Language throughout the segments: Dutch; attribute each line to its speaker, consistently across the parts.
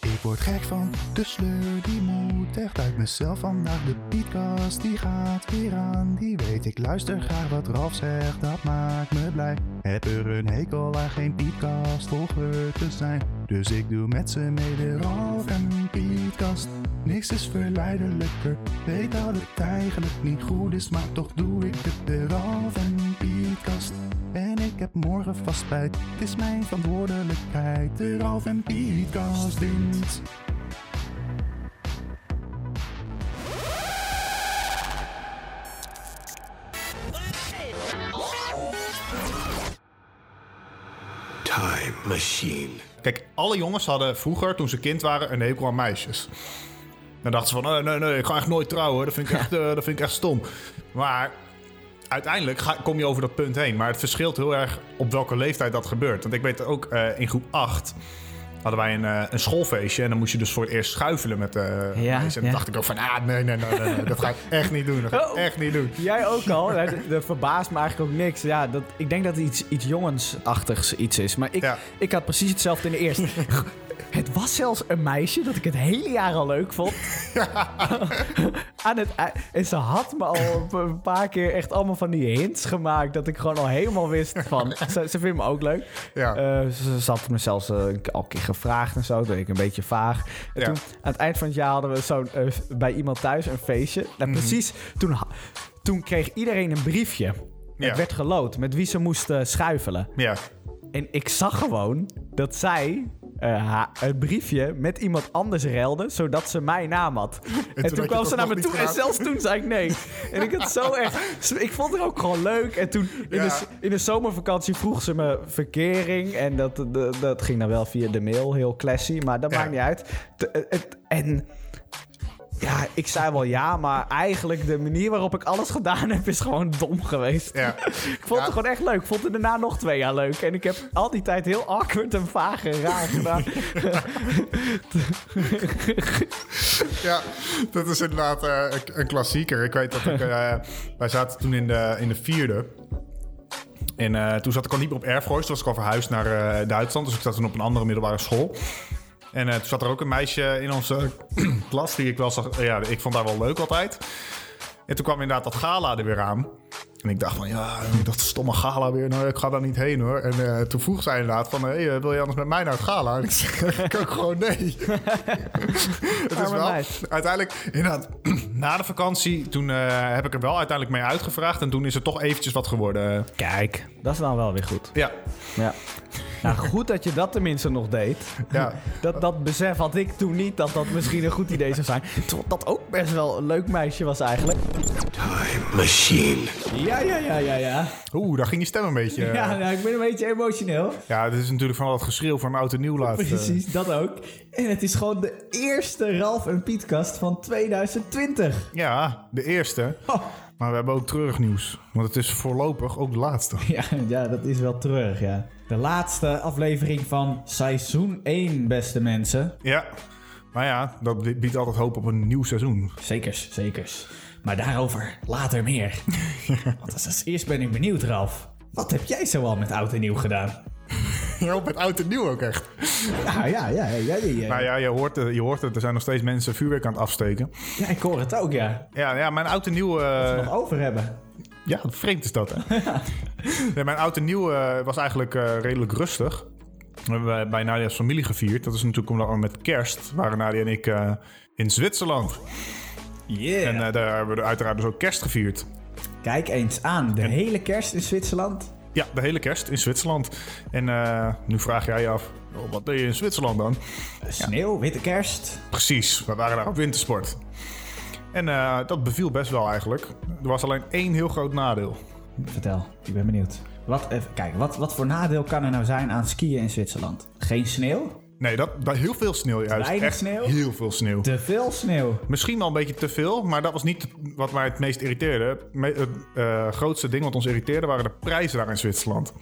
Speaker 1: Ik word gek van de sleur, die moet echt uit mezelf vandaag. De podcast die gaat weer aan, die weet ik luister graag wat Ralf zegt, dat maakt me blij. Heb er een hekel aan geen podcast volger te zijn, dus ik doe met ze mee de Ralf en Pietkast. Niks is verleidelijker, weet dat het eigenlijk niet goed is, maar toch doe ik het de Ralf en Pietkast. En ik heb morgen vast spijt, het is mijn verantwoordelijkheid, de Ralf en Pietkast dient.
Speaker 2: Time Machine.
Speaker 3: Kijk, alle jongens hadden vroeger, toen ze kind waren, een hekel aan meisjes. Dan dachten ze van, "Oh, nee, nee, nee, ik ga echt nooit trouwen. Dat vind ik echt, eh, dat vind ik echt stom. Maar uiteindelijk ga, kom je over dat punt heen. Maar het verschilt heel erg op welke leeftijd dat gebeurt. Want ik weet ook, eh, in groep 8 hadden wij een, eh, een schoolfeestje. En dan moest je dus voor het eerst schuifelen met eh meisjes. En dan
Speaker 4: ja.
Speaker 3: dacht ik ook van, ah, nee, nee, nee, nee, nee, dat ga ik echt niet doen. Dat ga ik
Speaker 4: Oh.
Speaker 3: echt niet doen.
Speaker 4: Jij ook al. hè? Dat- Dat verbaast me eigenlijk ook niks. Ja, dat, ik denk dat het iets, iets jongensachtigs iets is. Maar ik,
Speaker 3: Ja.
Speaker 4: ik had precies hetzelfde in de eerste. Het was zelfs een meisje dat ik het hele jaar al leuk vond. Aan het, ei- en ze had me al een pa- een paar keer echt allemaal van die hints gemaakt. Dat ik gewoon al helemaal wist van. Ze, ze vindt me ook leuk.
Speaker 3: Ja.
Speaker 4: Eh, ze, ze had me zelfs eh, een k- al een keer gevraagd en zo. Dat ik een beetje vaag. En
Speaker 3: Ja.
Speaker 4: toen, aan het eind van het jaar hadden we zo'n, eh, bij iemand thuis een feestje. Nou,
Speaker 3: Mhm.
Speaker 4: precies. Toen, ha- toen kreeg iedereen een briefje.
Speaker 3: Ja.
Speaker 4: Het werd geloot met wie ze moesten schuifelen.
Speaker 3: Ja,
Speaker 4: En ik zag gewoon dat zij eh, ha- het briefje met iemand anders ruilde, zodat ze mijn naam had. En,
Speaker 3: had
Speaker 4: toen
Speaker 3: je
Speaker 4: kwam
Speaker 3: dat
Speaker 4: ze naar
Speaker 3: nog
Speaker 4: me
Speaker 3: niet
Speaker 4: toe en
Speaker 3: gedaan.
Speaker 4: zelfs toen zei ik nee. En ik had zo echt... Ik vond het ook gewoon leuk. En toen in,
Speaker 3: Ja.
Speaker 4: de, s- in de zomervakantie vroeg ze me verkering. En dat, dat, dat ging dan wel via de mail, heel classy. Maar dat
Speaker 3: Ja.
Speaker 4: maakt niet uit. T- het- het- en... Ja, ik zei wel ja, maar eigenlijk de manier waarop ik alles gedaan heb is gewoon dom geweest.
Speaker 3: ja.
Speaker 4: Ik vond
Speaker 3: Ja.
Speaker 4: het gewoon echt leuk. Ik vond het daarna nog twee jaar leuk. En ik heb al die tijd heel awkward en vaag en raar gedaan.
Speaker 3: Ja, dat is inderdaad eh, een- een klassieker. Ik weet dat ik... eh, wij zaten toen in de, in de vierde. En eh, toen zat ik al niet meer op Erfgooi. Toen was ik al verhuisd naar eh, Duitsland. Dus ik zat toen op een andere middelbare school. En eh, toen zat er ook een meisje in onze klas die ik wel zag... Ja, ik vond haar wel leuk altijd. En toen kwam inderdaad dat gala er weer aan. En ik dacht van, ja, dat stomme gala weer. Nou, ik ga daar niet heen hoor. En eh, toen vroeg zij inderdaad van, hey, eh, wil je anders met mij naar het gala? En ik zeg ik ook gewoon nee. het is
Speaker 4: Arme
Speaker 3: wel,
Speaker 4: meid.
Speaker 3: uiteindelijk, inderdaad, na de vakantie, toen eh, heb ik er wel uiteindelijk mee uitgevraagd. En toen is er toch eventjes wat geworden.
Speaker 4: Kijk, dat is dan wel weer goed.
Speaker 3: Ja,
Speaker 4: Ja. Nou, goed dat je dat tenminste nog deed.
Speaker 3: ja.
Speaker 4: Dat, dat besef had ik toen niet dat dat misschien een goed idee zou zijn. Terwijl dat ook best wel een leuk meisje was eigenlijk.
Speaker 2: Time Machine.
Speaker 4: Ja, ja, ja, ja, ja.
Speaker 3: Oeh, daar ging je stem een beetje. eh.
Speaker 4: Ja,
Speaker 3: Ja,
Speaker 4: nou, ik ben een beetje emotioneel.
Speaker 3: dit is natuurlijk van al dat eh, geschreeuw van oud en nieuw laten.
Speaker 4: Precies, dat ook. En het is gewoon de eerste Ralf en Pietkast van 2020.
Speaker 3: Ja, de eerste.
Speaker 4: Oh.
Speaker 3: Maar we hebben ook treurig nieuws. Want het is voorlopig ook de laatste.
Speaker 4: Ja, ja, dat is wel treurig, ja.
Speaker 5: De laatste aflevering van seizoen 1, beste mensen.
Speaker 3: Ja. Maar ja, dat biedt altijd hoop op een nieuw seizoen.
Speaker 5: Zekers, zekers. Maar daarover later meer. Want als, als eerst ben ik benieuwd, Ralf. Wat heb jij zoal met oud en nieuw gedaan?
Speaker 3: Ja, op het oud en nieuw ook echt.
Speaker 5: Ja, ja, ja. ja, ja, ja.
Speaker 3: Nou ja, je hoort, het- je hoort het. Er zijn nog steeds mensen vuurwerk aan het afsteken.
Speaker 5: Ja, ik hoor het ook, ja.
Speaker 3: Ja, ja mijn oud en nieuw... eh,
Speaker 5: Nog over hebben.
Speaker 3: Ja, vreemd is dat, hè? nee, mijn oud en nieuw eh, was eigenlijk eh, redelijk rustig. We hebben bij Nadia's familie gevierd. Dat is natuurlijk omdat we met kerst waren Nadia en ik eh, in Zwitserland.
Speaker 5: Yeah.
Speaker 3: En eh, daar hebben we uiteraard dus ook kerst gevierd.
Speaker 5: eh, Kijk eens aan, de hele kerst in Zwitserland.
Speaker 3: Ja, de hele kerst in Zwitserland. En eh, nu vraag jij je af, "Oh, wat deed je in Zwitserland dan?
Speaker 5: Sneeuw, witte kerst.
Speaker 3: Precies, we waren daar op wintersport. En eh, dat beviel best wel eigenlijk. Er was alleen één heel groot nadeel.
Speaker 5: Vertel, ik ben benieuwd. Wat, even, kijk, wat, wat voor nadeel kan er nou zijn aan skiën in Zwitserland? Geen sneeuw?
Speaker 3: Nee, dat, dat, heel veel sneeuw juist.
Speaker 5: Weinig
Speaker 3: Echt
Speaker 5: sneeuw?
Speaker 3: Heel veel sneeuw.
Speaker 5: Te veel sneeuw.
Speaker 3: Misschien wel een beetje te veel, maar dat was niet wat mij het meest irriteerde. Het me- Het eh, grootste ding wat ons irriteerde waren de prijzen daar in Zwitserland.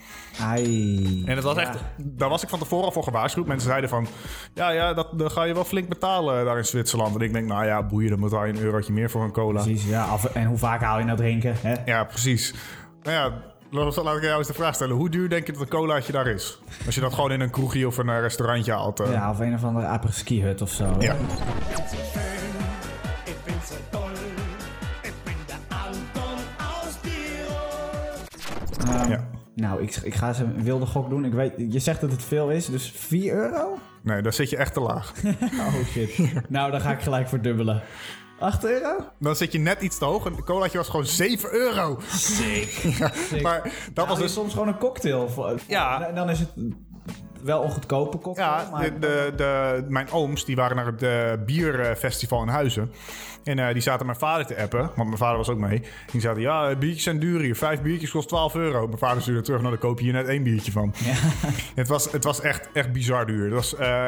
Speaker 5: Ai.
Speaker 3: En het was echt, daar was ik van tevoren al voor gewaarschuwd. Mensen zeiden van, ja, ja, dat, dat ga je wel flink betalen daar in Zwitserland. En ik denk, nou ja, boeien, dan betaal je een eurotje meer voor een cola.
Speaker 5: Precies, ja. af- en hoe vaak haal je nou drinken? Hè?
Speaker 3: Ja, precies. Nou ja, Laat laat ik jou eens de vraag stellen. Hoe duur denk je dat een colaatje daar is? Als je dat gewoon in een kroegje of een eh, restaurantje haalt. eh.
Speaker 4: Ja, of een of andere apres-ski hut of zo.
Speaker 3: Ja.
Speaker 6: Ik vind ze toll. Ik ben de Anton aus Tirol.
Speaker 4: Ehm,
Speaker 3: Ja.
Speaker 4: Nou, ik, ik ga ze een wilde gok doen. Ik weet, je zegt dat het veel is, dus 4 euro?
Speaker 3: Nee, daar zit je echt te laag.
Speaker 4: Oh shit. nou, dan ga ik gelijk verdubbelen. 8 euro?
Speaker 3: Dan zit je net iets te hoog. Een colaatje was gewoon 7 euro.
Speaker 4: Sick.
Speaker 3: Maar dat
Speaker 4: Haal
Speaker 6: Nou,
Speaker 3: was
Speaker 4: je
Speaker 3: dus...
Speaker 4: soms gewoon een cocktail. Voor,
Speaker 3: Ja.
Speaker 4: En dan is het wel een goedkope cocktail.
Speaker 3: Ja,
Speaker 4: maar
Speaker 3: de, de, de- mijn ooms die waren naar het eh, bierfestival in Huizen. En eh, die zaten mijn vader te appen, want mijn vader was ook mee. Die zaten, ja, eh, biertjes zijn duur hier. Vijf biertjes kost 12 euro. Mijn vader stuurde terug, nou dan koop je hier net één biertje van. Het was, het was echt, echt bizar duur. Het was, eh,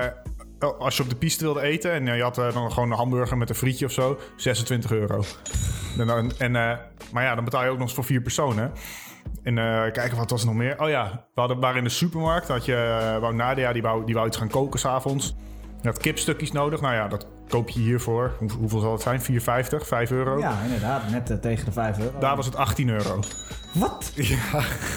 Speaker 3: als je op de piste wilde eten en eh, je had eh, dan gewoon een hamburger met een frietje of zo, 26 euro. En dan, en, eh, maar ja, dan betaal je ook nog eens voor vier personen. En eh, kijken, wat was er nog meer? Oh ja, we hadden, waren in de supermarkt. Had je, eh, wou Nadia, die wou, die wou iets gaan koken s'avonds. Je had kipstukjes nodig. Nou ja, dat koop je hiervoor. Hoe, hoeveel zal het zijn? 4,50? 5 euro?
Speaker 4: ja, inderdaad. Net eh, tegen de 5 euro.
Speaker 3: Daar was het 18 euro.
Speaker 4: Wat?
Speaker 3: Ja,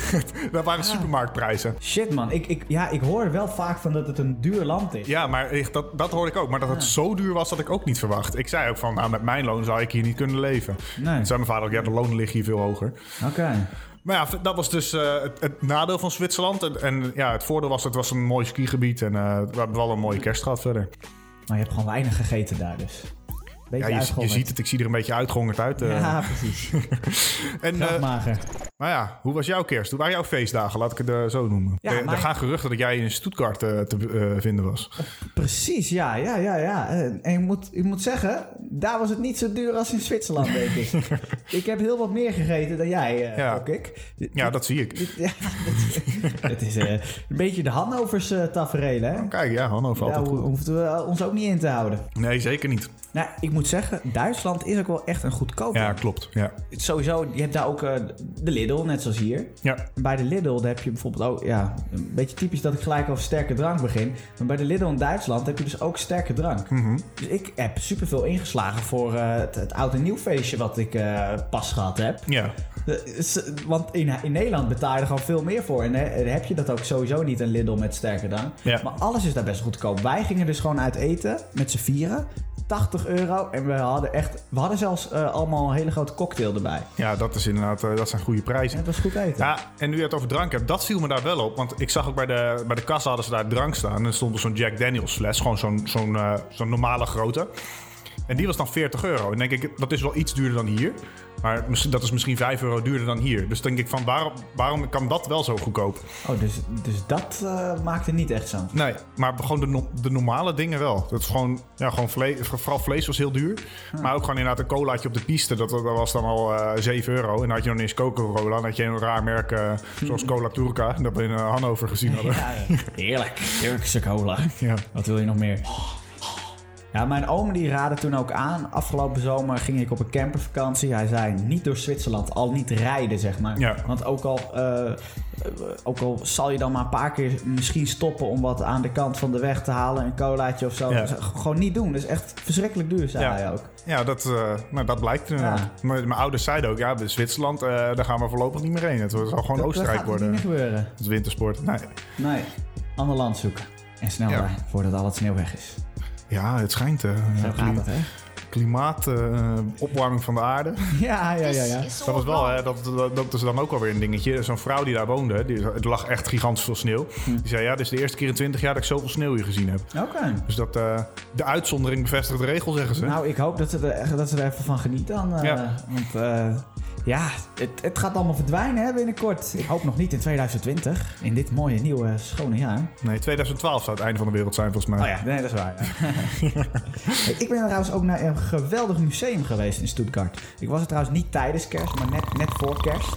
Speaker 3: dat waren supermarktprijzen.
Speaker 4: Shit, man. Ik, ik, ja, ik hoor wel vaak van dat het een duur land is.
Speaker 3: Ja, maar ik- dat, dat hoorde ik ook. Maar dat het zo duur was, had ik ook niet verwacht. Ik zei ook van, nou, met mijn loon zou ik hier niet kunnen leven.
Speaker 4: Nee.
Speaker 3: Toen zei mijn vader ook, ja, de lonen liggen hier veel hoger.
Speaker 4: Oké.
Speaker 3: Maar ja, dat was dus eh, het, het nadeel van Zwitserland. En, en ja, het voordeel was, het was een mooi skigebied. En eh, we hebben wel een mooie kerst gehad verder.
Speaker 4: Maar je hebt gewoon weinig gegeten daar dus.
Speaker 3: Ja,
Speaker 4: Beetje
Speaker 3: je, je
Speaker 4: uitgehongerd.
Speaker 3: ziet het, ik zie er een beetje uitgehongerd uit. eh.
Speaker 4: Ja, precies.
Speaker 3: en, eh,
Speaker 4: Krachtmager.
Speaker 3: maar ja, hoe was jouw kerst? Hoe waren jouw feestdagen? Laat ik het eh, zo noemen.
Speaker 4: Ja,
Speaker 3: er, er
Speaker 4: mijn-
Speaker 3: gaan geruchten dat jij in Stuttgart eh, te eh, vinden was.
Speaker 4: Precies, ja, ja, ja, ja. Eh, En ik moet, ik moet zeggen, daar was het niet zo duur als in Zwitserland, denk ik. ik heb heel wat meer gegeten dan jij, eh
Speaker 3: Ja.
Speaker 4: gok ik. Dit-
Speaker 3: Ja, dat zie ik.
Speaker 4: dit- ja, dit- het is eh, een beetje de Hannovers eh tafereel, hè?
Speaker 3: Kijk, ja, Hannover
Speaker 4: Daar
Speaker 3: altijd
Speaker 4: ho-
Speaker 3: goed.
Speaker 4: hoefden we eh, ons ook niet in te houden.
Speaker 3: Nee, zeker niet.
Speaker 4: Nou, ik moet zeggen, Duitsland is ook wel echt een goedkoop
Speaker 3: Ja,
Speaker 4: land.
Speaker 3: klopt. Ja.
Speaker 4: Sowieso, je hebt daar ook eh, de Lidl, net zoals hier.
Speaker 3: Ja.
Speaker 4: Bij de Lidl daar heb je bijvoorbeeld ook, ja, een beetje typisch dat ik gelijk over sterke drank begin. Maar bij de Lidl in Duitsland heb je dus ook sterke drank.
Speaker 3: Mhm.
Speaker 4: Dus ik heb superveel ingeslagen voor eh, het, het oud en nieuw feestje wat ik eh, pas gehad heb.
Speaker 3: ja.
Speaker 4: Eh, s- Want in, in Nederland betaal je er gewoon veel meer voor. En eh, heb je dat ook sowieso niet, een Lidl met sterke drank.
Speaker 3: Ja.
Speaker 4: Maar alles is daar best goedkoop. Wij gingen dus gewoon uit eten met z'n vieren. 80 euro. En we hadden echt, we hadden zelfs eh, allemaal een hele grote cocktail erbij.
Speaker 3: Ja, dat is inderdaad, eh, dat zijn goede prijzen.
Speaker 4: Het was goed eten.
Speaker 3: Ja, en nu je het over drank hebt, dat viel me daar wel op. Want ik zag ook bij de, bij de kassa hadden ze daar drank staan. En er stond er zo'n Jack Daniels fles, gewoon zo'n zo'n eh, zo'n normale grote. En die was dan 40 euro. En denk ik, dat is wel iets duurder dan hier. Maar misschien- dat is misschien 5 euro duurder dan hier. Dus denk ik van, waarom, waarom kan dat wel zo goedkoop?
Speaker 4: Oh, dus, dus dat eh, maakte niet echt zo.
Speaker 3: Nee, maar gewoon de, no- de normale dingen wel. Dat is gewoon, ja, gewoon vle vooral vlees was heel duur. Maar ook gewoon inderdaad een colaatje op de piste. Dat, dat was dan al eh 7 euro. En dan had je nog niet eens Coca-Cola. Dan had je een raar merk eh, zoals Cola Turca. Dat we in eh, Hannover gezien hadden. Ja.
Speaker 4: Heerlijk. Turkse cola.
Speaker 3: Ja.
Speaker 4: Wat wil je nog meer? Ja, mijn oom die raadde toen ook aan. Afgelopen zomer ging ik op een campervakantie. Hij zei niet door Zwitserland, al niet rijden zeg maar.
Speaker 3: Ja.
Speaker 4: Want ook al, eh, eh, ook al zal je dan maar een paar keer misschien stoppen om wat aan de kant van de weg te halen. Een colaatje of zo.
Speaker 3: Ja.
Speaker 4: Dus gewoon niet doen. Dat is echt verschrikkelijk duur, zei
Speaker 3: Ja.
Speaker 4: hij ook.
Speaker 3: dat, eh, nou, dat blijkt inderdaad.
Speaker 4: Ja.
Speaker 3: Mijn, mijn ouders zeiden ook, ja, bij Zwitserland, eh, daar gaan we voorlopig niet meer heen. Het zal gewoon
Speaker 4: Dat- dat
Speaker 3: Oostenrijk
Speaker 4: gaat niet
Speaker 3: worden.
Speaker 4: meer gebeuren.
Speaker 3: Het is wintersport. Nee.
Speaker 4: Nee, ander land zoeken. En snel
Speaker 3: Ja.
Speaker 4: daar, voordat al het sneeuw weg is.
Speaker 3: Ja, het schijnt. eh,
Speaker 4: Zo gaat
Speaker 3: kli-
Speaker 4: dat, hè?
Speaker 3: klimaat, eh, opwarming van de aarde.
Speaker 4: Ja, ja, ja, ja.
Speaker 3: Dat was wel, hè, dat, dat, dat is dan ook alweer een dingetje. Zo'n vrouw die daar woonde, die, er lag echt gigantisch veel sneeuw.
Speaker 4: Hm.
Speaker 3: Die zei, ja, dit is de eerste keer in 20 jaar dat ik zoveel sneeuw hier gezien heb.
Speaker 4: Nou, Oké.
Speaker 3: Dus dat, eh, de uitzondering bevestigt de regel, zeggen ze.
Speaker 4: Nou, ik hoop dat ze er, dat ze er even van genieten dan. eh,
Speaker 3: Ja.
Speaker 4: Want eh, ja, het, het gaat allemaal verdwijnen hè, binnenkort. Ik hoop nog niet in 2020. In dit mooie, nieuwe, schone jaar.
Speaker 3: Nee, 2012 zou het einde van de wereld zijn, volgens mij.
Speaker 4: Oh ja, nee, dat is waar. ja. Hey, ik ben trouwens ook naar een geweldig museum geweest in Stuttgart. Ik was er trouwens niet tijdens kerst, maar net, net voor kerst.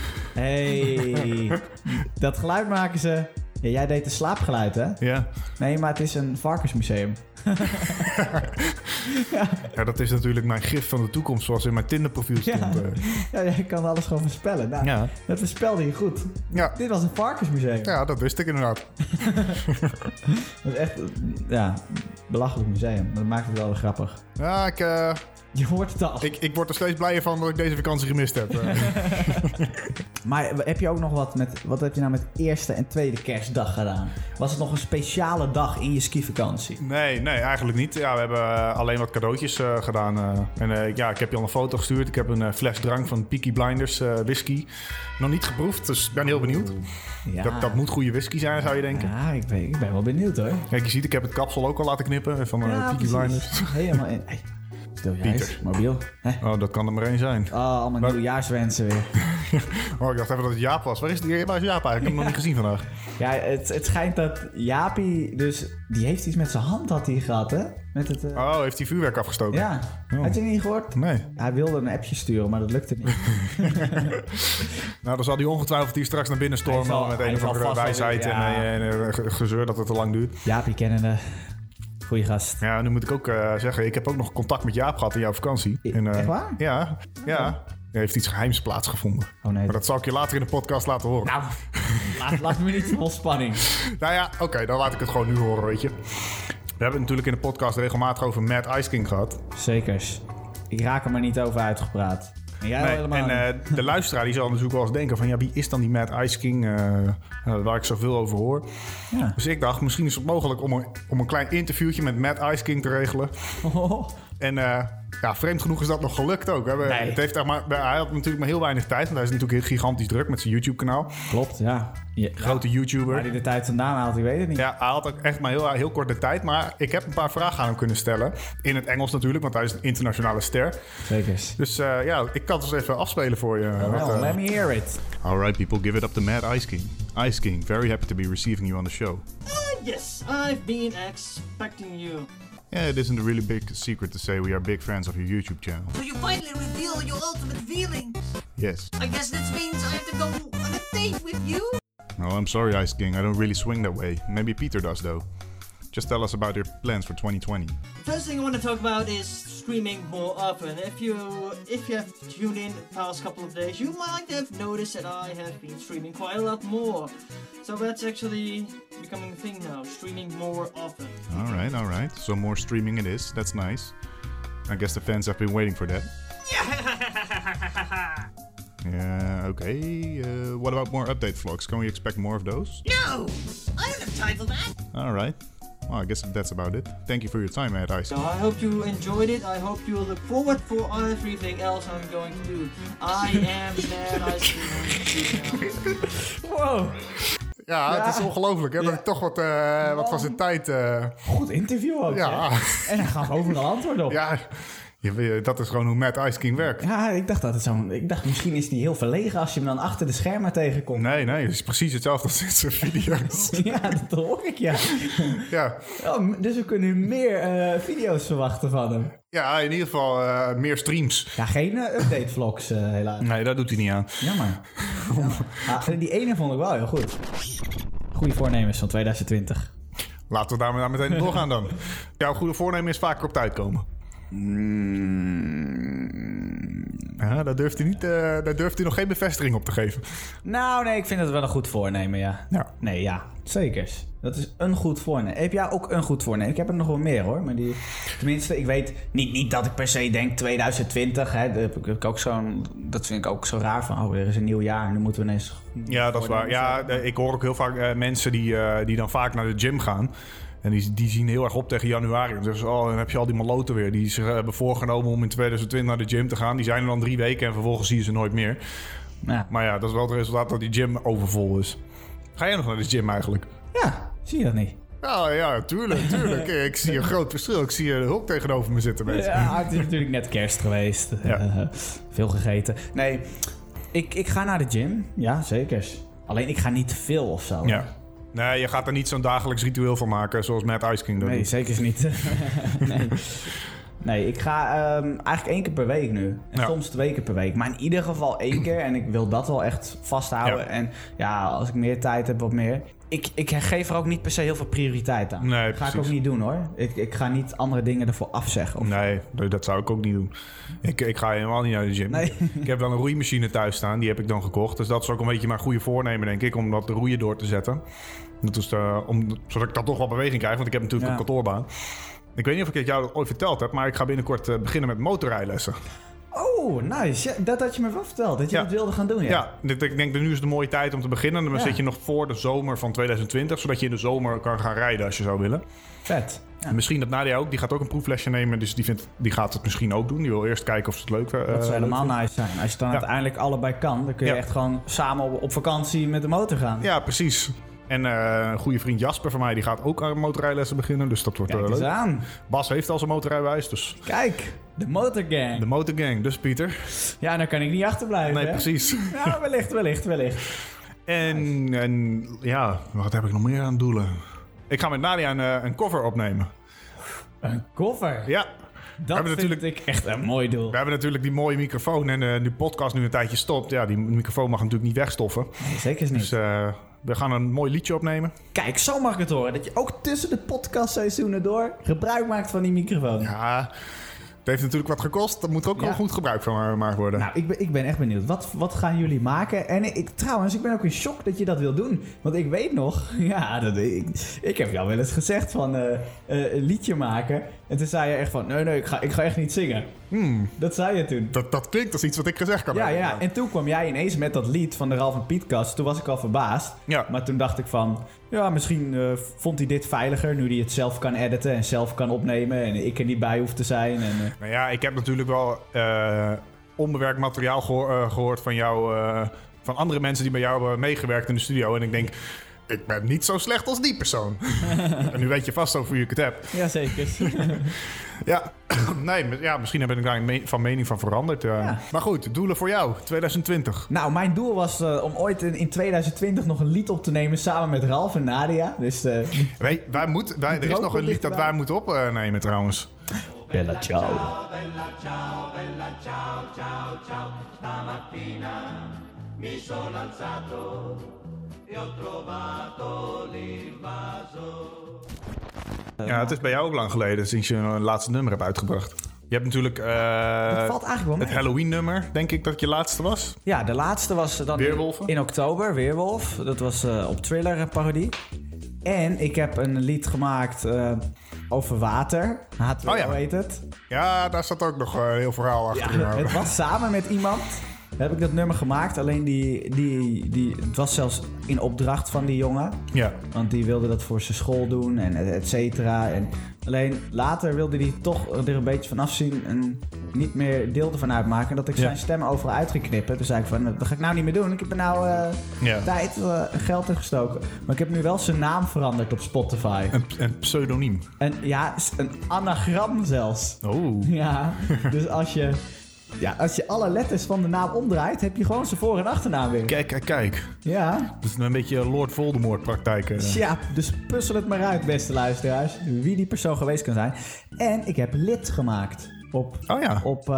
Speaker 4: hey, dat geluid maken ze. Ja, jij deed een slaapgeluid, hè?
Speaker 3: Ja.
Speaker 4: Nee, maar het is een varkensmuseum.
Speaker 3: Ja, dat is natuurlijk mijn gif van de toekomst, zoals in mijn Tinder-profiel stond. eh.
Speaker 4: Ja, je kan alles gewoon voorspellen. Nou,
Speaker 3: Ja.
Speaker 4: Dat voorspelde je goed.
Speaker 3: Ja.
Speaker 4: Dit was een varkensmuseum.
Speaker 3: ja, dat wist ik inderdaad.
Speaker 4: Dat is echt, eh, ja, belachelijk museum. Dat maakt het wel weer grappig.
Speaker 3: Ja, ik, eh,
Speaker 4: Je hoort het al.
Speaker 3: Ik, ik word er steeds blijer van dat ik deze vakantie gemist heb. Eh,
Speaker 4: Maar heb je ook nog wat met... Wat heb je nou met eerste en tweede kerstdag gedaan? Was het nog een speciale dag in je skivakantie?
Speaker 3: nee, nee, eigenlijk niet. Ja, we hebben eh, alleen wat cadeautjes eh, gedaan. eh. en eh, ja, ik heb je al een foto gestuurd. Ik heb een eh, fles drank van Peaky Blinders eh, whisky. Nog niet geproefd, dus ik ben heel benieuwd.
Speaker 4: Ja.
Speaker 3: Dat, dat moet goede whisky zijn, zou je denken.
Speaker 4: Ja, ik ben, ik ben wel benieuwd hoor.
Speaker 3: Kijk, je ziet, ik heb het kapsel ook al laten knippen van eh Peaky
Speaker 4: precies.
Speaker 3: Blinders.
Speaker 4: Helemaal in. Hey, stil jij
Speaker 3: Pieter.
Speaker 4: eens, mobiel. Hè?
Speaker 3: Oh, dat kan er maar één zijn.
Speaker 4: Oh, allemaal nieuwjaarswensen weer.
Speaker 3: Oh, ik dacht even dat het Jaap was. Waar is, die, waar is Jaap eigenlijk? Ik heb hem nog niet gezien vandaag.
Speaker 4: Ja, het, het schijnt dat Jaapie dus... Die heeft iets met zijn hand had hij gehad, hè? Met het... eh,
Speaker 3: Oh, heeft hij vuurwerk afgestoken?
Speaker 4: Ja. Had je het niet gehoord?
Speaker 3: Nee.
Speaker 4: Hij wilde een appje sturen, maar dat lukte niet.
Speaker 3: Nou, dan zal hij ongetwijfeld hier straks naar binnen stormen
Speaker 4: Hij zal-
Speaker 3: met
Speaker 4: hij
Speaker 3: een of
Speaker 4: zal
Speaker 3: andere
Speaker 4: vast wel
Speaker 3: wijsheid
Speaker 4: weer- ja.
Speaker 3: en, eh, en eh, ge- gezeur dat het te lang duurt.
Speaker 4: Jaapie kennende. Goeie gast.
Speaker 3: Ja, nu moet ik ook eh, zeggen, ik heb ook nog contact met Jaap gehad in jouw vakantie.
Speaker 4: I-
Speaker 3: eh,
Speaker 4: echt waar?
Speaker 3: Ja, ja. Er heeft iets geheims plaatsgevonden.
Speaker 4: Oh, nee.
Speaker 3: Maar dat zal ik je later in de podcast laten horen. Nou,
Speaker 4: Nou, laat, laat me niet vol spanning.
Speaker 3: ja, oké, dan laat ik het gewoon nu horen, weet je. We hebben het natuurlijk in de podcast regelmatig over Mad Ice King gehad.
Speaker 4: Oh, Zekers. Ik raak er maar niet over uitgepraat. En jij wel
Speaker 3: Nee,
Speaker 4: helemaal
Speaker 3: en
Speaker 4: niet.
Speaker 3: eh, de luisteraar die zal natuurlijk wel eens denken van... ja, wie is dan die Mad Ice King eh, eh, waar ik zoveel over hoor?
Speaker 4: Ja.
Speaker 3: Dus ik dacht, misschien is het mogelijk om een, om een klein interviewtje met Mad Ice King te regelen. En eh, ja, vreemd genoeg is dat nog gelukt ook. Hè? We-
Speaker 4: Nee.
Speaker 3: Het heeft echt maar, hij had natuurlijk maar heel weinig tijd... want hij is natuurlijk heel gigantisch druk met zijn YouTube-kanaal.
Speaker 4: Klopt, ja. Je,
Speaker 3: Grote
Speaker 4: Waar
Speaker 3: YouTuber.
Speaker 4: hij de tijd vandaan haalt, ik weet het niet.
Speaker 3: Ja, hij had ook echt maar heel, heel kort de tijd. Maar ik heb een paar vragen aan hem kunnen stellen. In het Engels natuurlijk, want hij is een internationale ster.
Speaker 4: Zekers.
Speaker 3: Dus eh, ja, ik kan het eens even afspelen voor je. Wat,
Speaker 4: Well,
Speaker 3: eh,
Speaker 4: let me hear it.
Speaker 1: All right, people, give it up to Mad Ice King. Ice King, very happy to be receiving you on the show.
Speaker 7: Uh,
Speaker 6: Ah, yes, I've been expecting you.
Speaker 1: Yeah, it isn't a really big secret to say we are big fans of your YouTube channel.
Speaker 7: So you finally reveal your ultimate feelings.
Speaker 1: Yes.
Speaker 7: I guess this means I have to go on a date with you?
Speaker 1: No, Oh, I'm sorry, Ice King. I don't really swing that way. Maybe Peter does, though. Just tell us about your plans for 2020.
Speaker 7: First thing I want to talk about is streaming more often. If you if you have tuned in the past couple of days, you might have noticed that I have been streaming quite a lot more. So that's actually becoming a thing now, streaming more often.
Speaker 1: All right, all right. So more streaming it is. That's nice. I guess the fans have been waiting for that. Yeah, okay. Uh, what about more update vlogs? Can we expect more of those?
Speaker 7: No! I don't have time for that!
Speaker 1: All right. Well, I guess that's about it. Thank you for your time, Mad Ice.
Speaker 7: So I hope you enjoyed it. I hope you look forward for everything else I'm going to do. I am mad I stream.
Speaker 4: Wow.
Speaker 3: Ja, het is ongelooflijk hè, dat ik Oh, toch wat, eh, wat van zijn tijd... eh,
Speaker 4: Goed interview ook.
Speaker 3: ja,
Speaker 4: hè? En dan gaan we overal antwoord op.
Speaker 3: ja je weet, dat is gewoon hoe Mad Ice King werkt.
Speaker 4: Ja, ik dacht dat het zo'n. Ik dacht, misschien is die heel verlegen als je hem dan achter de schermen tegenkomt.
Speaker 3: Nee, nee, het is precies hetzelfde als in zijn video's.
Speaker 4: Ja, dat hoor ik ja.
Speaker 3: ja.
Speaker 4: Oh, m- dus we kunnen meer eh, video's verwachten van hem.
Speaker 3: ja, in ieder geval eh, meer streams.
Speaker 4: Ja, geen eh, update vlogs eh, helaas.
Speaker 3: Nee, dat doet hij niet aan.
Speaker 4: Jammer. Jammer. Ah, die ene vond ik wel heel goed. Goede voornemens van 2020.
Speaker 3: Laten we daar maar meteen doorgaan dan. Jouw goede voornemen is vaker op tijd komen. Ja, daar durft hij, niet, eh, daar durft hij nog geen bevestiging op te geven.
Speaker 4: Nou, nee, ik vind het wel een goed voornemen, ja.
Speaker 3: Ja.
Speaker 4: Nee, ja. Zekers. Dat is een goed voornemen. Heb jij ook een goed voornemen? Ik heb er nog wel meer hoor. Maar die, tenminste, ik weet niet, niet dat ik per se denk 2020. Hè, dat, heb ik- heb ik ook zo'n, dat vind ik ook zo raar van, oh, er is een nieuw jaar en dan moeten we ineens...
Speaker 3: Ja, dat is waar. Ja, eh, ik hoor ook heel vaak eh, mensen die, eh, die dan vaak naar de gym gaan. En die, die zien heel erg op tegen januari. Dan zeggen ze, oh, dan heb je al die maloten weer. Die zich eh, hebben voorgenomen om in 2020 naar de gym te gaan. Die zijn er dan drie weken en vervolgens zie je ze nooit meer.
Speaker 4: Ja.
Speaker 3: Maar ja, dat is wel het resultaat dat die gym overvol is. Ga jij nog naar de gym eigenlijk?
Speaker 4: ja, zie je dat niet?
Speaker 3: Ja, Nou ja, tuurlijk, tuurlijk. ik zie een groot verschil. Ik zie een hulp tegenover me zitten, mensen.
Speaker 4: Ja, het is natuurlijk net kerst geweest.
Speaker 3: Ja.
Speaker 4: Eh, veel gegeten. Nee, ik, ik ga naar de gym. Ja, zekers. Alleen ik ga niet te veel of zo.
Speaker 3: Ja. Nee, je gaat er niet zo'n dagelijks ritueel van maken zoals Matt Ice King dat
Speaker 4: Nee,
Speaker 3: doet.
Speaker 4: zeker niet. nee. nee, ik ga ehm, eigenlijk één keer per week nu. En
Speaker 3: Ja.
Speaker 4: soms twee keer per week. Maar in ieder geval één keer. En ik wil dat wel echt vasthouden.
Speaker 3: Ja.
Speaker 4: En ja, als ik meer tijd heb, wat meer. Ik, ik geef er ook niet per se heel veel prioriteit aan.
Speaker 3: Nee,
Speaker 4: dat ga ik ook
Speaker 3: precies.
Speaker 4: niet doen hoor. Ik, ik ga niet andere dingen ervoor afzeggen. Of...
Speaker 3: Nee, d- dat zou ik ook niet doen. Ik, ik ga helemaal niet naar de gym.
Speaker 4: Nee.
Speaker 3: Ik heb wel een roeimachine thuis staan, die heb ik dan gekocht. Dus dat is ook een beetje mijn goede voornemen, denk ik, om dat roeien door te zetten. Dat is, eh, om, zodat ik dan toch wat beweging krijg, want ik heb natuurlijk
Speaker 4: Ja.
Speaker 3: een kantoorbaan. Ik weet niet of ik het jou ooit verteld heb, maar ik ga binnenkort eh, beginnen met motorrijlessen.
Speaker 4: Oh, nice. Ja, dat had je me wel verteld, dat je
Speaker 3: Ja.
Speaker 4: dat wilde gaan doen, ja.
Speaker 3: Ja, dit- ik denk dat nu is de mooie tijd om te beginnen. Dan
Speaker 4: Ja.
Speaker 3: zit je nog voor de zomer van 2020, zodat je in de zomer kan gaan rijden als je zou willen.
Speaker 4: Vet. Ja.
Speaker 3: En Misschien dat Nadia ook, die gaat ook een proeflesje nemen, dus die, vindt, die gaat het misschien ook doen. Die wil eerst kijken of ze het leuk eh,
Speaker 4: Dat zou
Speaker 3: leuk
Speaker 4: helemaal nice zijn. Als je dan uiteindelijk allebei kan, dan kun je
Speaker 3: Ja.
Speaker 4: echt gewoon samen op, op vakantie met de motor gaan.
Speaker 3: Ja, precies. En eh, een goede vriend Jasper van mij, die gaat ook aan motorrijlessen beginnen. Dus dat wordt
Speaker 4: Kijk
Speaker 3: eh,
Speaker 4: eens
Speaker 3: leuk.
Speaker 4: aan.
Speaker 3: Bas heeft al zijn motorrijwijs, dus
Speaker 4: Kijk, de motorgang.
Speaker 3: de motorgang. Dus Pieter.
Speaker 4: Ja, dan kan ik niet achterblijven,
Speaker 3: Nee,
Speaker 4: hè?
Speaker 3: precies.
Speaker 4: Ja, wellicht, wellicht, wellicht.
Speaker 3: En, en ja, wat heb ik nog meer aan doelen? Ik ga met Nadia een, eh, een cover opnemen.
Speaker 4: Een koffer.
Speaker 3: Ja.
Speaker 4: Dat
Speaker 3: hebben
Speaker 4: vind
Speaker 3: natuurlijk-
Speaker 4: ik echt een mooi doel.
Speaker 3: We hebben natuurlijk die mooie microfoon en eh die podcast nu een tijdje stopt. Ja, die microfoon mag natuurlijk niet wegstoffen.
Speaker 4: Nee, zeker niet.
Speaker 3: Dus eh, we gaan een mooi liedje opnemen.
Speaker 4: Kijk, zo mag ik het horen. Dat je ook tussen de podcastseizoenen door gebruik maakt van die microfoon.
Speaker 3: Ja, het heeft natuurlijk wat gekost. Daar moet er ook
Speaker 4: Ja.
Speaker 3: wel goed gebruik van gemaakt worden.
Speaker 4: Nou, ik ben, ik ben echt benieuwd. Wat, wat gaan jullie maken? En ik, trouwens, ik ben ook in shock dat je dat wil doen. Want ik weet nog, ja, dat, ik, ik heb jou wel eens gezegd van eh, eh, een liedje maken. En toen zei je echt van, nee, nee, ik ga, ik ga echt niet zingen.
Speaker 3: Hmm.
Speaker 4: Dat zei je toen.
Speaker 3: dat, dat klinkt als iets wat ik gezegd kan
Speaker 4: Ja,
Speaker 3: hebben.
Speaker 4: ja, en toen kwam jij ineens met dat lied van de Ralph en Pietkast. Toen was ik al verbaasd.
Speaker 3: Ja.
Speaker 4: Maar toen dacht ik van, ja, misschien eh, vond hij dit veiliger... nu hij het zelf kan editen en zelf kan opnemen... en ik er niet bij hoef te zijn. En, eh,
Speaker 3: Nou ja, ik heb natuurlijk wel eh, onbewerkt materiaal geho- eh, gehoord van jou. eh, van andere mensen die bij jou hebben meegewerkt in de studio. En ik denk, ik ben niet zo slecht als die persoon. en nu weet je vast over wie ik het heb.
Speaker 4: Jazeker.
Speaker 3: Ja, nee, mi- ja, misschien ben ik daar me- van mening van veranderd. eh.
Speaker 4: Ja.
Speaker 3: Maar goed, doelen voor jou, 2020.
Speaker 4: nou, mijn doel was eh, om ooit in, in 2020 nog een lied op te nemen... samen met Ralf en Nadia. Dus eh
Speaker 3: Wij, wij moeten, wij, er is
Speaker 4: droom
Speaker 3: nog een
Speaker 4: komt
Speaker 3: lied dat wij
Speaker 4: dichterbij.
Speaker 3: moeten opnemen trouwens.
Speaker 4: Bella ciao. Eh,
Speaker 3: Ja, het is bij jou ook lang geleden sinds je een laatste nummer hebt uitgebracht. Je hebt natuurlijk eh,
Speaker 4: Dat valt eigenlijk wel mee.
Speaker 3: het Halloween-nummer, denk ik dat je laatste was.
Speaker 4: Ja, de laatste was eh, dan
Speaker 3: Weerwolven?
Speaker 4: in oktober, Weerwolf. Dat was eh, op Thriller een parodie. En ik heb een lied gemaakt eh, over water. H2O
Speaker 3: Oh ja.
Speaker 4: heet het.
Speaker 3: Ja, daar zat ook nog eh, een heel verhaal achter.
Speaker 4: Ja, het was samen met iemand. Heb ik dat nummer gemaakt. Alleen die, die, die, het was zelfs in opdracht van die jongen.
Speaker 3: Ja.
Speaker 4: Want die wilde dat voor zijn school doen en et- et cetera. En alleen later wilde hij toch er een beetje van afzien en niet meer deel ervan uitmaken. En Dat ik zijn stem overal uit ging knippen. Toen zei ik van, dat ga ik nou niet meer doen. Ik heb er nou eh,
Speaker 3: Ja.
Speaker 4: tijd eh, en geld in gestoken. Maar ik heb nu wel zijn naam veranderd op Spotify.
Speaker 3: Een, een pseudoniem.
Speaker 4: En ja, s- een anagram zelfs.
Speaker 3: Oh.
Speaker 4: Ja, dus als je, ja, als je alle letters van de naam omdraait, heb je gewoon zijn voor- en achternaam weer.
Speaker 3: Kijk, kijk, kijk.
Speaker 4: Ja,
Speaker 3: Dat is een beetje Lord eh. Voldemort praktijken.
Speaker 4: ja, dus puzzel het maar uit, beste luisteraars, wie die persoon geweest kan zijn. En ik heb lid gemaakt op,
Speaker 3: Oh ja.
Speaker 4: op, eh,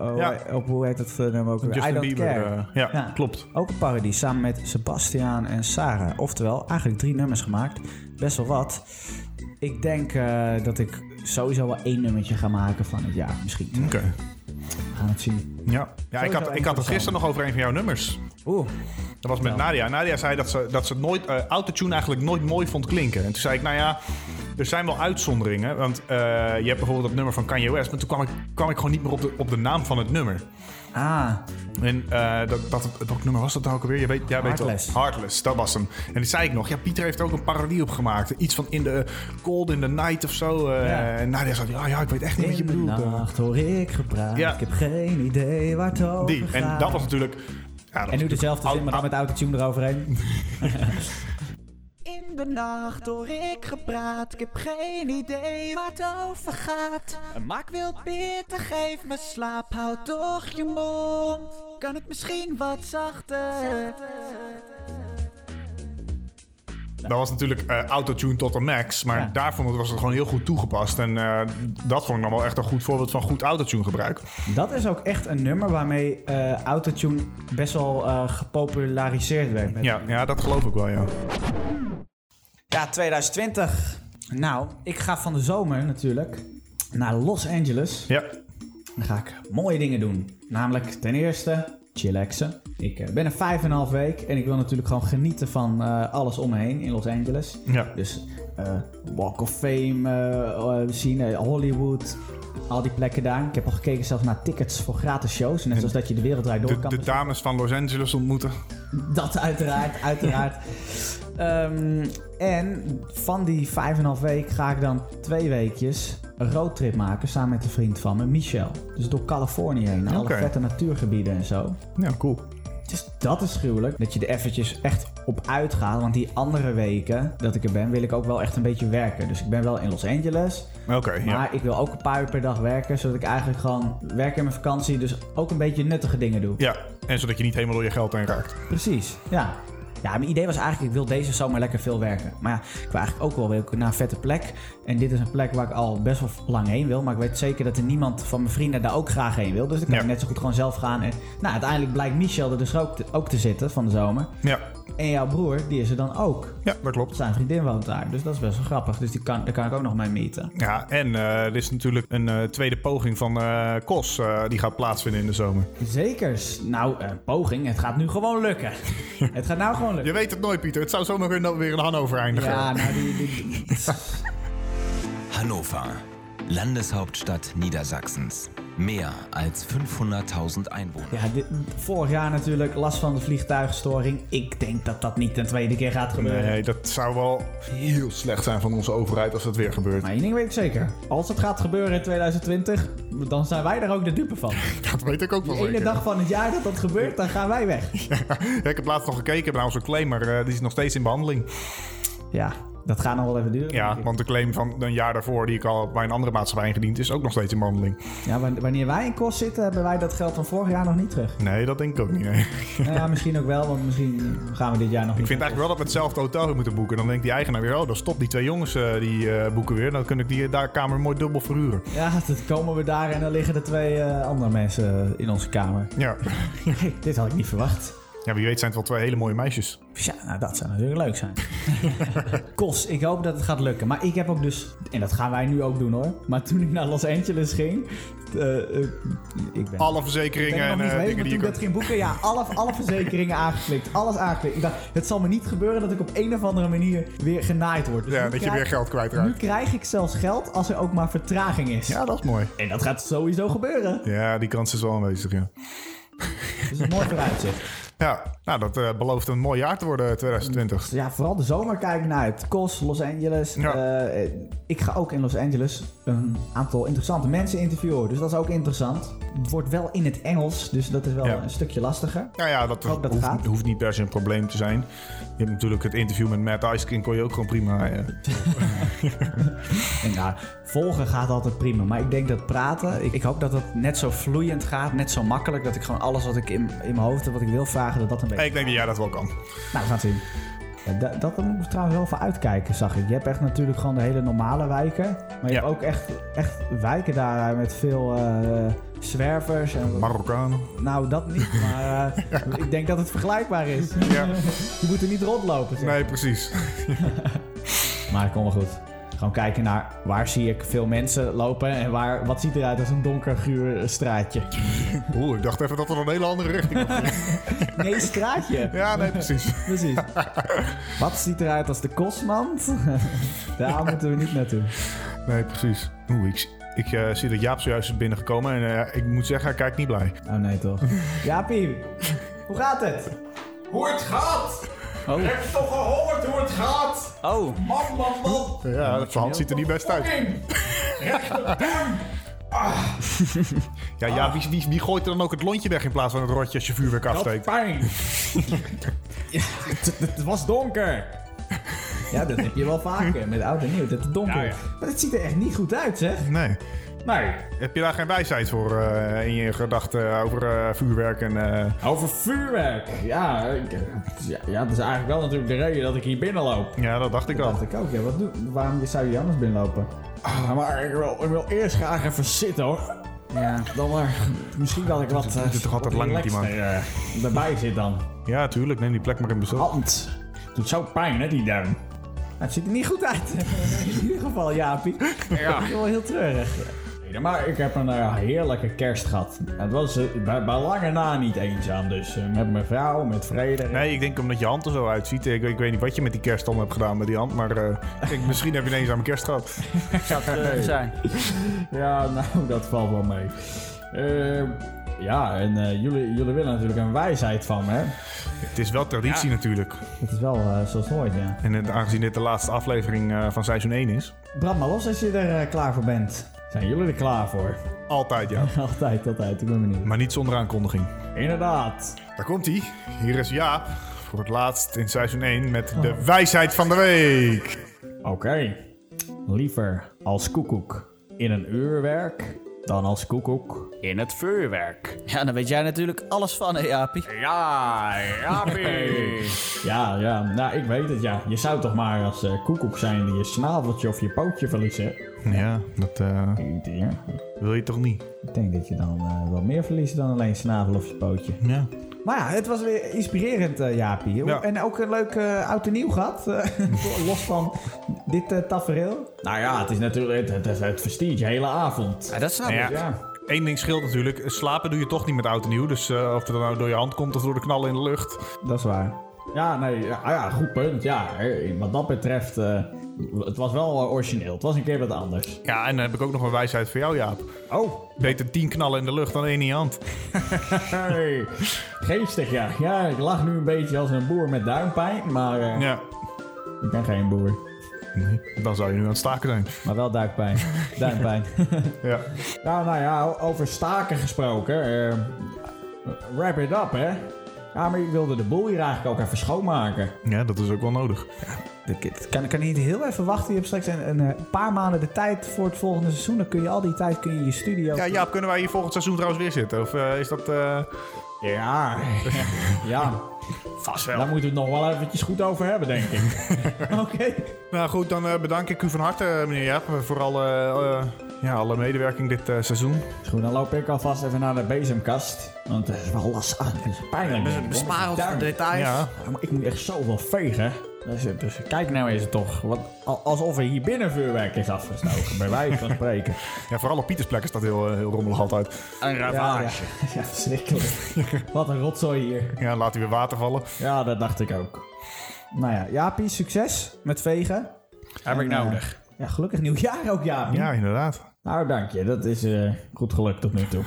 Speaker 4: oh,
Speaker 3: Ja.
Speaker 4: op hoe heet dat eh, nummer ook weer?
Speaker 3: Justin
Speaker 4: I Don't
Speaker 3: Bieber,
Speaker 4: Care.
Speaker 3: eh, ja, klopt.
Speaker 4: Ook een parodie, samen met Sebastian en Sarah. Oftewel, eigenlijk drie nummers gemaakt, best wel wat. Ik denk eh, dat ik sowieso wel één nummertje ga maken van het jaar, misschien.
Speaker 3: Oké.
Speaker 4: We gaan het zien.
Speaker 3: Ja, ja ik, had, ik had het gisteren nog over een van jouw nummers.
Speaker 4: Oeh.
Speaker 3: Dat was met Nadia. Nadia zei dat ze, dat ze het nooit, eh, autotune eigenlijk nooit mooi vond klinken. En toen zei ik, nou ja, er zijn wel uitzonderingen. Want eh, je hebt bijvoorbeeld dat nummer van Kanye West. Maar toen kwam ik, kwam ik gewoon niet meer op de, op de naam van het nummer.
Speaker 4: Ah,
Speaker 3: En eh, dat, dat, welk nummer was dat nou ook alweer? Je weet, jij
Speaker 4: Heartless.
Speaker 3: Weet wel. Heartless, dat was hem. En die zei ik nog. Ja, Pieter heeft er ook een parodie op gemaakt. Iets van in de Cold in the Night of zo. eh
Speaker 4: Ja.
Speaker 3: En Nadia zei, ja, ja, ik weet echt niet
Speaker 4: in
Speaker 3: wat je
Speaker 4: de
Speaker 3: bedoelt. eh.
Speaker 4: nacht hoor ik gepraat.
Speaker 3: Ja.
Speaker 4: Ik heb geen idee waar het over
Speaker 3: Die. En
Speaker 4: gaat.
Speaker 3: dat was natuurlijk... Ja, dat
Speaker 4: En nu
Speaker 3: was
Speaker 4: dezelfde zin, maar dan
Speaker 3: natuurlijk
Speaker 4: met autotune eroverheen. In de nacht hoor ik gepraat, ik heb geen idee waar het over gaat. Maak wild bitter, geef me slaap, houd toch je mond. Kan het misschien wat zachter?
Speaker 3: Dat was natuurlijk eh, autotune tot de max. Maar
Speaker 4: Ja.
Speaker 3: daarvan was het gewoon heel goed toegepast. En eh, dat vond ik dan wel echt een goed voorbeeld van goed autotune gebruik.
Speaker 4: Dat is ook echt een nummer waarmee eh, autotune best wel eh, gepopulariseerd werd. Met
Speaker 3: Ja, ja, dat geloof ik wel, ja.
Speaker 4: Ja, 2020. Nou, ik ga van de zomer natuurlijk naar Los Angeles.
Speaker 3: Ja,
Speaker 4: Dan ga ik mooie dingen doen. Namelijk ten eerste chillaxen. Ik eh, ben er 5,5 week en ik wil natuurlijk gewoon genieten van eh, alles om me heen in Los Angeles.
Speaker 3: Ja.
Speaker 4: Dus eh, Walk of Fame eh, eh, we zien, eh, Hollywood, al die plekken daar. Ik heb al gekeken zelfs naar tickets voor gratis shows. Net zoals dat je de wereld draait door
Speaker 3: De,
Speaker 4: kan
Speaker 3: de
Speaker 4: bezoeken.
Speaker 3: dames van Los Angeles ontmoeten.
Speaker 4: Dat uiteraard, uiteraard. Ehm, en van die 5,5 week ga ik dan twee weekjes een roadtrip maken samen met een vriend van me, Michel. Dus door Californië heen, naar
Speaker 3: Oké.
Speaker 4: alle vette natuurgebieden en zo.
Speaker 3: Ja, cool.
Speaker 4: Dus dat is gruwelijk, dat je er eventjes echt op uitgaat. Want die andere weken dat ik er ben, wil ik ook wel echt een beetje werken. Dus ik ben wel in Los Angeles,
Speaker 3: Oké, ja.
Speaker 4: maar ik wil ook een paar uur per dag werken. Zodat ik eigenlijk gewoon werk in mijn vakantie, dus ook een beetje nuttige dingen doe.
Speaker 3: Ja, en zodat je niet helemaal door je geld heen raakt.
Speaker 4: Precies, ja. Ja, mijn idee was eigenlijk, ik wil deze zomer lekker veel werken. Maar ja, ik wil eigenlijk ook wel weer naar een vette plek. En dit is een plek waar ik al best wel lang heen wil. Maar ik weet zeker dat er niemand van mijn vrienden daar ook graag heen wil. Dus dan kan
Speaker 3: Ja.
Speaker 4: ik net zo goed gewoon zelf gaan. En nou, uiteindelijk blijkt Michel er dus ook te, ook te zitten van de zomer.
Speaker 3: Ja,
Speaker 4: En jouw broer, die is er dan ook.
Speaker 3: ja dat klopt.
Speaker 4: Zijn vriendin woont daar, dus dat is best wel grappig. Dus die kan, daar kan ik ook nog mee meten.
Speaker 3: Ja, en eh, er is natuurlijk een eh, tweede poging van eh, Kos eh, die gaat plaatsvinden in de zomer.
Speaker 4: Zekers. Nou, eh, poging. Het gaat nu gewoon lukken. het gaat nou gewoon lukken.
Speaker 3: Je weet het nooit, Pieter. Het zou zomaar weer- weer in Hannover eindigen.
Speaker 4: Ja, nou, die, die- die-
Speaker 8: Hannover, Landeshauptstadt Niedersachsens. Mehr als 500.000 Einwohner.
Speaker 4: Ja, dit- vorig jaar natuurlijk last van de vliegtuigstoring. Ik denk dat dat niet een tweede keer gaat gebeuren.
Speaker 3: Nee, dat zou wel heel slecht zijn van onze overheid als dat weer gebeurt.
Speaker 4: Maar één ding weet ik zeker. Als het gaat gebeuren in 2020, dan zijn wij er ook de dupe van.
Speaker 3: Dat weet ik ook wel
Speaker 4: De ene
Speaker 3: zeker.
Speaker 4: dag van het jaar dat dat gebeurt, dan gaan wij weg.
Speaker 3: Ja, ik heb laatst nog gekeken naar onze claim, maar eh, die is nog steeds in behandeling.
Speaker 4: Ja, dat gaat nog wel even duren.
Speaker 3: Ja,
Speaker 4: denk ik.
Speaker 3: want de claim van een jaar daarvoor, die ik al bij een andere maatschappij ingediend, is ook nog steeds in behandeling.
Speaker 4: ja, wan- wanneer wij in kost zitten, hebben wij dat geld van vorig jaar nog niet terug.
Speaker 3: Nee, dat denk ik ook niet. nee.
Speaker 4: Nou ja, misschien ook wel, want misschien gaan we dit jaar nog niet.
Speaker 3: Ik vind eigenlijk wel dat we hetzelfde hotel weer moeten boeken. Dan denkt die eigenaar weer, oh, dan stopt die twee jongens eh, die eh, boeken weer. Dan kun ik die eh, daar kamer mooi dubbel verhuren.
Speaker 4: Ja, dan komen we daar en dan liggen er twee eh, andere mensen in onze kamer.
Speaker 3: Ja.
Speaker 4: dit had ik niet verwacht.
Speaker 3: ja, wie weet zijn het wel twee hele mooie meisjes.
Speaker 4: Ja, nou dat zou natuurlijk leuk zijn. Kos, ik hoop dat het gaat lukken. Maar ik heb ook dus, en dat gaan wij nu ook doen hoor. Maar toen ik naar Los Angeles ging. eh, eh, ik ben.
Speaker 3: Alle
Speaker 4: ik
Speaker 3: verzekeringen
Speaker 4: ben er
Speaker 3: en
Speaker 4: nog niet
Speaker 3: eh,
Speaker 4: geweest,
Speaker 3: dingen die
Speaker 4: maar toen
Speaker 3: je
Speaker 4: ik dat
Speaker 3: kunt...
Speaker 4: ging boeken, ja, alle, alle verzekeringen aangeklikt, alles aangeklikt. Ik dacht, het zal me niet gebeuren dat ik op een of andere manier weer genaaid word. Dus
Speaker 3: Ja,
Speaker 4: nu
Speaker 3: dat je
Speaker 4: krijg-
Speaker 3: weer geld
Speaker 4: Nu
Speaker 3: kwijtraakt.
Speaker 4: krijg ik zelfs geld als er ook maar vertraging is.
Speaker 3: Ja, dat is mooi.
Speaker 4: En dat gaat sowieso gebeuren.
Speaker 3: Ja, die kans is wel aanwezig, ja.
Speaker 4: Dus een mooi vooruitzicht.
Speaker 3: Ja, nou, dat eh, belooft een mooi jaar te worden, eh,
Speaker 4: Hm.
Speaker 3: 2020.
Speaker 4: Ja, vooral de zomer kijk ik naar uit. Kos, Los Angeles.
Speaker 3: Ja.
Speaker 4: Eh, eh, ik ga ook in Los Angeles een aantal interessante mensen interviewen. Dus dat is ook interessant. Het wordt wel in het Engels, dus dat is wel
Speaker 3: Ja.
Speaker 4: een stukje lastiger.
Speaker 3: Nou ja, dat,
Speaker 4: hoop dat
Speaker 3: hoeft,
Speaker 4: gaat.
Speaker 3: hoeft niet per se een probleem te zijn. Je hebt natuurlijk het interview met Matt Icekin, kon je ook gewoon prima... eh,
Speaker 4: En nou, volgen gaat altijd prima. Maar ik denk dat praten, ik, ik hoop dat dat net zo vloeiend gaat, net zo makkelijk. Dat ik gewoon alles wat ik in, in mijn hoofd heb, wat ik wil vragen, dat dat een beetje...
Speaker 3: Ik denk dat jij dat wel kan.
Speaker 4: Nou, we gaan het zien. Ja, da- dat moet ik trouwens wel voor uitkijken, zag ik. Je hebt echt natuurlijk gewoon de hele normale wijken. Maar je
Speaker 3: Ja.
Speaker 4: hebt ook echt, echt wijken daar met veel eh, zwervers. En,
Speaker 3: Marokkanen.
Speaker 4: nou, dat niet. Maar eh, ik denk dat het vergelijkbaar is.
Speaker 3: Ja.
Speaker 4: Je moet er niet rondlopen. zeg.
Speaker 3: Nee, precies.
Speaker 4: Maar het komt wel goed. Gewoon kijken naar waar zie ik veel mensen lopen en waar, wat ziet eruit als een donker guur eh, straatje.
Speaker 3: Oeh, ik dacht even dat er een hele andere richting op ging.
Speaker 4: Nee, straatje.
Speaker 3: Ja, nee, precies.
Speaker 4: Precies. Wat ziet eruit als de kosmand? Daar moeten we niet naartoe.
Speaker 3: Nee, precies. Oeh, ik, ik eh, zie dat Jaap zojuist is binnengekomen. En eh, ik moet zeggen, hij kijkt niet blij.
Speaker 4: Oh nee toch. Jaapie, hoe gaat het?
Speaker 9: Hoe het gaat!
Speaker 4: Oh.
Speaker 9: Heb je toch gehoord hoe het gaat?
Speaker 4: Oh.
Speaker 9: Man, man, man!
Speaker 3: Ja, dat hand ziet er niet best uit.
Speaker 9: Fucking
Speaker 3: Ja, Jaap, wie, wie, wie gooit er dan ook het lontje weg in plaats van het rotje als je vuurwerk afsteekt?
Speaker 9: pijn!
Speaker 4: Het was donker. Hm. Ja, dat heb je wel vaker met oud en nieuw, dat het donker
Speaker 9: Ja,
Speaker 4: is.
Speaker 9: ja.
Speaker 4: Maar het ziet er echt niet goed uit, zeg.
Speaker 3: Nee.
Speaker 9: Nee,
Speaker 3: Heb je daar geen wijsheid voor eh, in je gedachten over eh, vuurwerk en... eh,
Speaker 9: over vuurwerk! Ja, ik- ja, ja, dat is eigenlijk wel natuurlijk de reden dat ik hier binnenloop.
Speaker 3: Ja, dat dacht ik al.
Speaker 4: Dacht ik ook, ja. Wat doe, waarom zou je anders binnenlopen?
Speaker 9: Ah, maar ik wil, ik wil eerst graag even zitten hoor.
Speaker 4: Ja, dan maar. Misschien dat ik wat eh,
Speaker 3: Het is toch altijd lang met die man.
Speaker 9: Eh, erbij zit dan.
Speaker 3: Ja, tuurlijk. Neem die plek maar in bezit.
Speaker 9: Hand. Doet zo pijn hè, die
Speaker 4: Nou,
Speaker 9: duim.
Speaker 4: Het ziet er niet goed uit. In ieder geval, Jaapie.
Speaker 9: Ja.
Speaker 4: Dat is wel heel treurig. weten. Maar ik heb een eh, heerlijke kerst gehad. Het was eh, bij, bij lange na niet eenzaam. Dus eh, met mijn vrouw, met Frederik.
Speaker 3: Nee, ik denk omdat je hand er zo uitziet. Ik, ik weet niet wat je met die kerst dan hebt gedaan met die hand. Maar eh, ik denk, misschien heb je ineens aan mijn kerst gehad.
Speaker 4: dat
Speaker 10: zijn.
Speaker 4: Ja, nou, dat valt wel mee. Eh, ja, en eh, jullie, jullie willen natuurlijk een wijsheid van me, hè?
Speaker 3: Het is wel traditie natuurlijk.
Speaker 4: Dat is wel eh, zoals nooit, ja.
Speaker 3: En eh, aangezien dit de laatste aflevering eh, van seizoen 1 is.
Speaker 11: Brand maar los als je er eh, klaar voor bent.
Speaker 4: Zijn jullie er klaar voor?
Speaker 3: Altijd ja.
Speaker 4: Altijd, altijd. Ik ben benieuwd.
Speaker 3: Maar niet zonder aankondiging.
Speaker 4: Inderdaad.
Speaker 3: Daar komt hij. Hier is Jaap. Voor het laatst in seizoen 1 met de wijsheid van de week.
Speaker 4: Oké. Liever als koekoek in een uurwerk dan als koekoek
Speaker 12: In het vuurwerk.
Speaker 8: Ja, dan weet jij natuurlijk alles van, hè, Jaapie?
Speaker 12: Ja, Jaapie.
Speaker 4: Ja, ja, nou ik weet het ja. Je zou toch maar als eh, koekoek zijn die je snaveltje of je pootje verliezen.
Speaker 3: Ja, dat eh,
Speaker 4: Ja,
Speaker 3: wil je toch niet?
Speaker 4: ik denk dat je dan eh, wel meer verliest dan alleen snavel of je pootje.
Speaker 3: Ja.
Speaker 11: Maar ja, het was weer inspirerend, eh, Jaapie.
Speaker 3: Ja.
Speaker 11: En ook een leuk eh, oud en nieuw gehad. eh, los van dit eh, tafereel.
Speaker 4: Nou ja, het is natuurlijk, het, het, het verstiert je hele avond.
Speaker 8: Ja, dat snap ik.
Speaker 3: Nou ja,
Speaker 4: Ja.
Speaker 3: één ding scheelt natuurlijk. Slapen doe je toch niet met oud en nieuw. Dus eh, of het nou door je hand komt of door de knallen in de lucht.
Speaker 11: Dat is waar.
Speaker 4: Ja, nee, ja, ah ja, goed punt. Ja, hè, wat dat betreft, eh, het was wel eh, origineel. Het was een keer wat anders.
Speaker 3: Ja, en dan heb ik ook nog een wijsheid voor jou, Jaap.
Speaker 4: Oh,
Speaker 3: Beter tien knallen in de lucht dan één in je hand.
Speaker 4: hey. geestig ja. Ja, ik lach nu een beetje als een boer met duimpijn, maar eh,
Speaker 3: Ja,
Speaker 4: ik ben geen boer.
Speaker 3: dan zou je nu aan het staken zijn.
Speaker 4: Maar wel duikpijn. duimpijn.
Speaker 3: Ja.
Speaker 4: Ja, nou ja, o- over staken gesproken. eh, wrap it up, hè. Ja, maar ik wilde de boel hier eigenlijk ook even schoonmaken.
Speaker 3: ja, dat is ook wel nodig.
Speaker 11: Ik kan, kan je niet heel even wachten. Je hebt straks een, een eh, paar maanden de tijd voor het volgende seizoen. Dan kun je al die tijd kun je je studio...
Speaker 3: Ja, Jaap, kunnen wij hier volgend seizoen trouwens weer zitten? Of eh, is dat... eh,
Speaker 4: Ja. ja.
Speaker 3: Vast wel.
Speaker 4: Daar moeten we het nog wel eventjes goed over hebben, denk ik.
Speaker 11: Oké.
Speaker 3: Nou goed, dan eh, bedank ik u van harte, meneer Jaap, voor alle, eh, ja, alle medewerking dit eh, seizoen.
Speaker 4: Dus goed, dan loop ik alvast even naar de bezemkast. Want het is wel lastig. Het is pijnlijk. denk ik,
Speaker 8: Bespaar
Speaker 4: hoor.
Speaker 8: ons van
Speaker 4: Duim.
Speaker 8: details.
Speaker 3: Ja,
Speaker 4: Ja, maar ik moet echt zoveel vegen. Dus, dus kijk nou eens toch. Wat, al- alsof er hier binnen vuurwerk is afgestoken. bij wijze van spreken.
Speaker 3: ja vooral op Pieters plek is dat heel, eh, heel rommelig altijd.
Speaker 8: Een
Speaker 4: Ja, ja,
Speaker 8: ravage.
Speaker 4: ja, verschrikkelijk. Wat een rotzooi hier.
Speaker 3: Ja, laat hij weer water vallen.
Speaker 4: Ja, dat dacht ik ook.
Speaker 11: Nou ja, Jaapie, succes met vegen.
Speaker 12: Heb ik nodig.
Speaker 11: Ja, gelukkig nieuwjaar ook, Jaapie.
Speaker 3: Ja, inderdaad.
Speaker 4: Nou, dank je. Dat is eh, goed gelukt tot nu toe.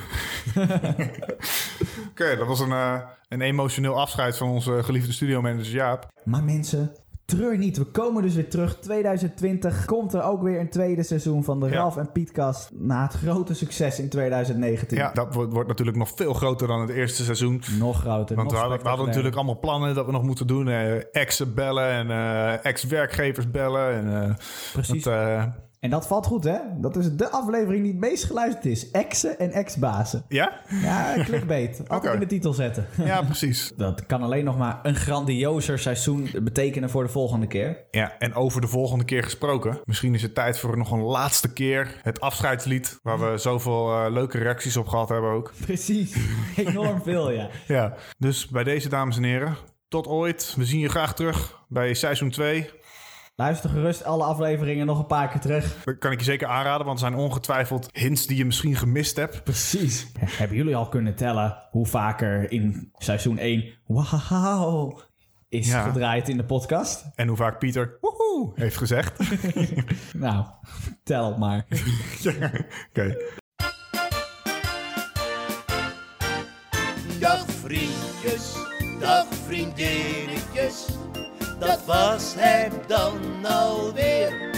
Speaker 3: Oké, dat was een, eh, een emotioneel afscheid van onze eh, geliefde studiomanager Jaap.
Speaker 11: Maar mensen, treur niet. We komen dus weer terug. 2020 komt er ook weer een tweede seizoen van de
Speaker 3: Ja.
Speaker 11: Ralf en Pietkast. Na het grote succes in 2019.
Speaker 3: Ja, dat wordt, wordt natuurlijk nog veel groter dan het eerste seizoen.
Speaker 11: Nog groter.
Speaker 3: Want
Speaker 11: nog
Speaker 3: we hadden, we hadden
Speaker 11: spectaculairder.
Speaker 3: natuurlijk allemaal plannen dat we nog moeten doen. eh exen bellen en eh, ex-werkgevers bellen. En, eh,
Speaker 11: Precies.
Speaker 3: dat, eh,
Speaker 11: En dat valt goed, hè? Dat is de aflevering die het meest geluisterd is. Exen en ex-bazen.
Speaker 3: ja?
Speaker 11: Ja, clickbait. Altijd
Speaker 3: Oké.
Speaker 11: in de titel zetten.
Speaker 3: ja, precies.
Speaker 11: Dat kan alleen nog maar een grandiozer seizoen betekenen voor de volgende keer.
Speaker 3: Ja, en over de volgende keer gesproken. Misschien is het tijd voor nog een laatste keer het afscheidslied. Waar we zoveel eh, leuke reacties op gehad hebben ook.
Speaker 11: Precies. Enorm veel, ja.
Speaker 3: Ja, dus bij deze dames en heren. Tot ooit. We zien je graag terug bij seizoen 2.
Speaker 11: Luister gerust alle afleveringen nog een paar keer terug.
Speaker 3: Dat kan ik je zeker aanraden, want er zijn ongetwijfeld hints die je misschien gemist hebt.
Speaker 11: Precies.
Speaker 4: Hebben jullie al kunnen tellen hoe vaker in seizoen 1
Speaker 11: Wauw.
Speaker 4: is
Speaker 3: Ja.
Speaker 4: gedraaid in de podcast?
Speaker 3: En hoe vaak Pieter woehoe heeft gezegd. Oké.
Speaker 4: Nou, tel het maar.
Speaker 6: Dag vriendjes, dag vriendinnetjes, dat was het dan alweer.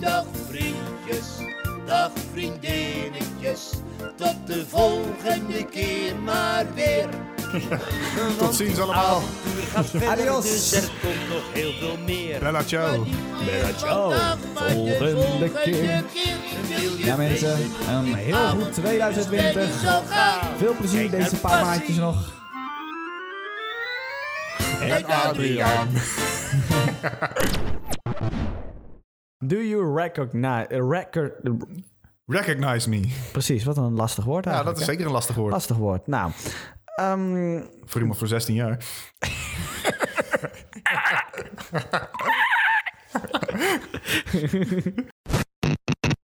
Speaker 6: Dag vriendjes, dag vriendinnetjes, tot de volgende keer maar weer.
Speaker 3: Tot ziens allemaal.
Speaker 6: Uur gaat verder,
Speaker 11: Adios.
Speaker 6: dus er komt nog heel veel meer.
Speaker 3: Bella ciao.
Speaker 4: volgende keer.
Speaker 11: Ja mensen, een heel goed 2020. Veel plezier deze paar maandjes nog.
Speaker 6: En Adriaan.
Speaker 10: Do you recognize... eh, record, eh,
Speaker 3: Recognize me.
Speaker 10: precies, wat een lastig woord
Speaker 3: Ja,
Speaker 10: eigenlijk.
Speaker 3: dat is
Speaker 10: hè?
Speaker 3: zeker een lastig woord.
Speaker 10: Lastig woord. Nou, ehm,
Speaker 3: Voor iemand van 16 jaar.